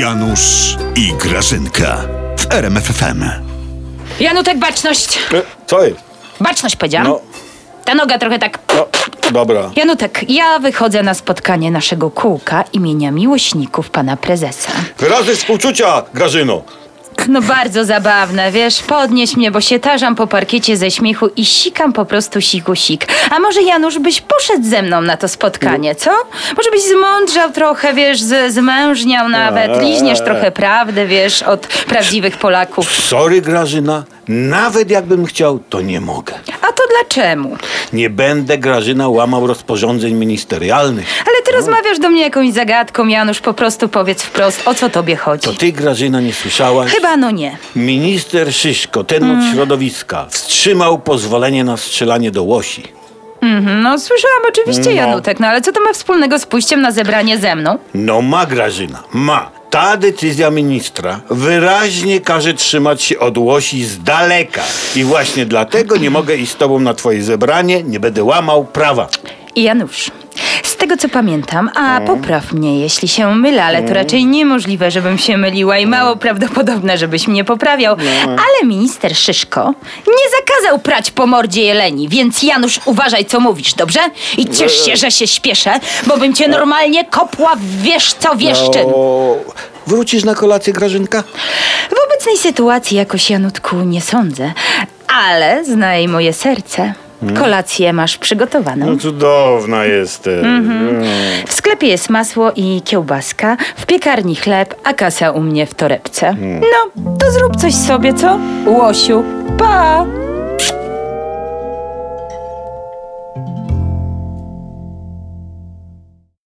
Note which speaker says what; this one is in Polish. Speaker 1: Janusz i Grażynka w RMFFM.
Speaker 2: Janutek, baczność.
Speaker 3: E, Co jest?
Speaker 2: Baczność powiedziałam.
Speaker 3: No.
Speaker 2: Ta noga trochę tak...
Speaker 3: No, dobra.
Speaker 2: Janutek, ja wychodzę na spotkanie naszego kółka imienia miłośników pana prezesa.
Speaker 3: Wyrazy współczucia, Grażyno.
Speaker 2: No bardzo zabawne, wiesz, podnieś mnie, bo się tarzam po parkiecie ze śmiechu i sikam po prostu siku sik. A może Janusz byś poszedł ze mną na to spotkanie, co? Może byś zmądrzał trochę, wiesz, z, zmężniał nawet,
Speaker 3: Eee.
Speaker 2: liźniesz trochę prawdy, wiesz, od prawdziwych Polaków.
Speaker 3: Sorry, Grażyna, nawet jakbym chciał, to nie mogę.
Speaker 2: A to dlaczego?
Speaker 3: Nie będę, Grażyna, łamał rozporządzeń ministerialnych.
Speaker 2: Ale ty rozmawiasz do mnie jakąś zagadką, Janusz, po prostu powiedz wprost, o co tobie
Speaker 3: To
Speaker 2: chodzi.
Speaker 3: ty, Grażyna, nie słyszałaś?
Speaker 2: Chyba no nie.
Speaker 3: Minister Szyszko, ten od środowiska, wstrzymał pozwolenie na strzelanie do łosi.
Speaker 2: Mhm, no słyszałam oczywiście, Janutek, no ale co to ma wspólnego z pójściem na zebranie ze mną?
Speaker 3: No ma, Grażyna, ma. Ta decyzja ministra wyraźnie każe trzymać się od łosi z daleka. I właśnie dlatego nie mogę iść z tobą na twoje zebranie, nie będę łamał prawa.
Speaker 2: I Janusz. Z tego co pamiętam, a popraw mnie, jeśli się mylę, ale to raczej niemożliwe, żebym się myliła i mało prawdopodobne, żebyś mnie poprawiał. Ale minister Szyszko nie zakazał prać po mordzie jeleni, więc Janusz, uważaj co mówisz, dobrze? I ciesz się, że się śpieszę, bo bym cię normalnie kopła w wiesz co wieszczyn.
Speaker 3: O, wrócisz na kolację, Grażynka?
Speaker 2: W obecnej sytuacji jakoś, Janutku, nie sądzę, ale znaj moje serce. Kolację masz przygotowaną.
Speaker 3: cudowna jesteś.
Speaker 2: W sklepie jest masło i kiełbaska, w piekarni chleb, a kasa u mnie w torebce. No, to zrób coś sobie, co? Łosiu, pa!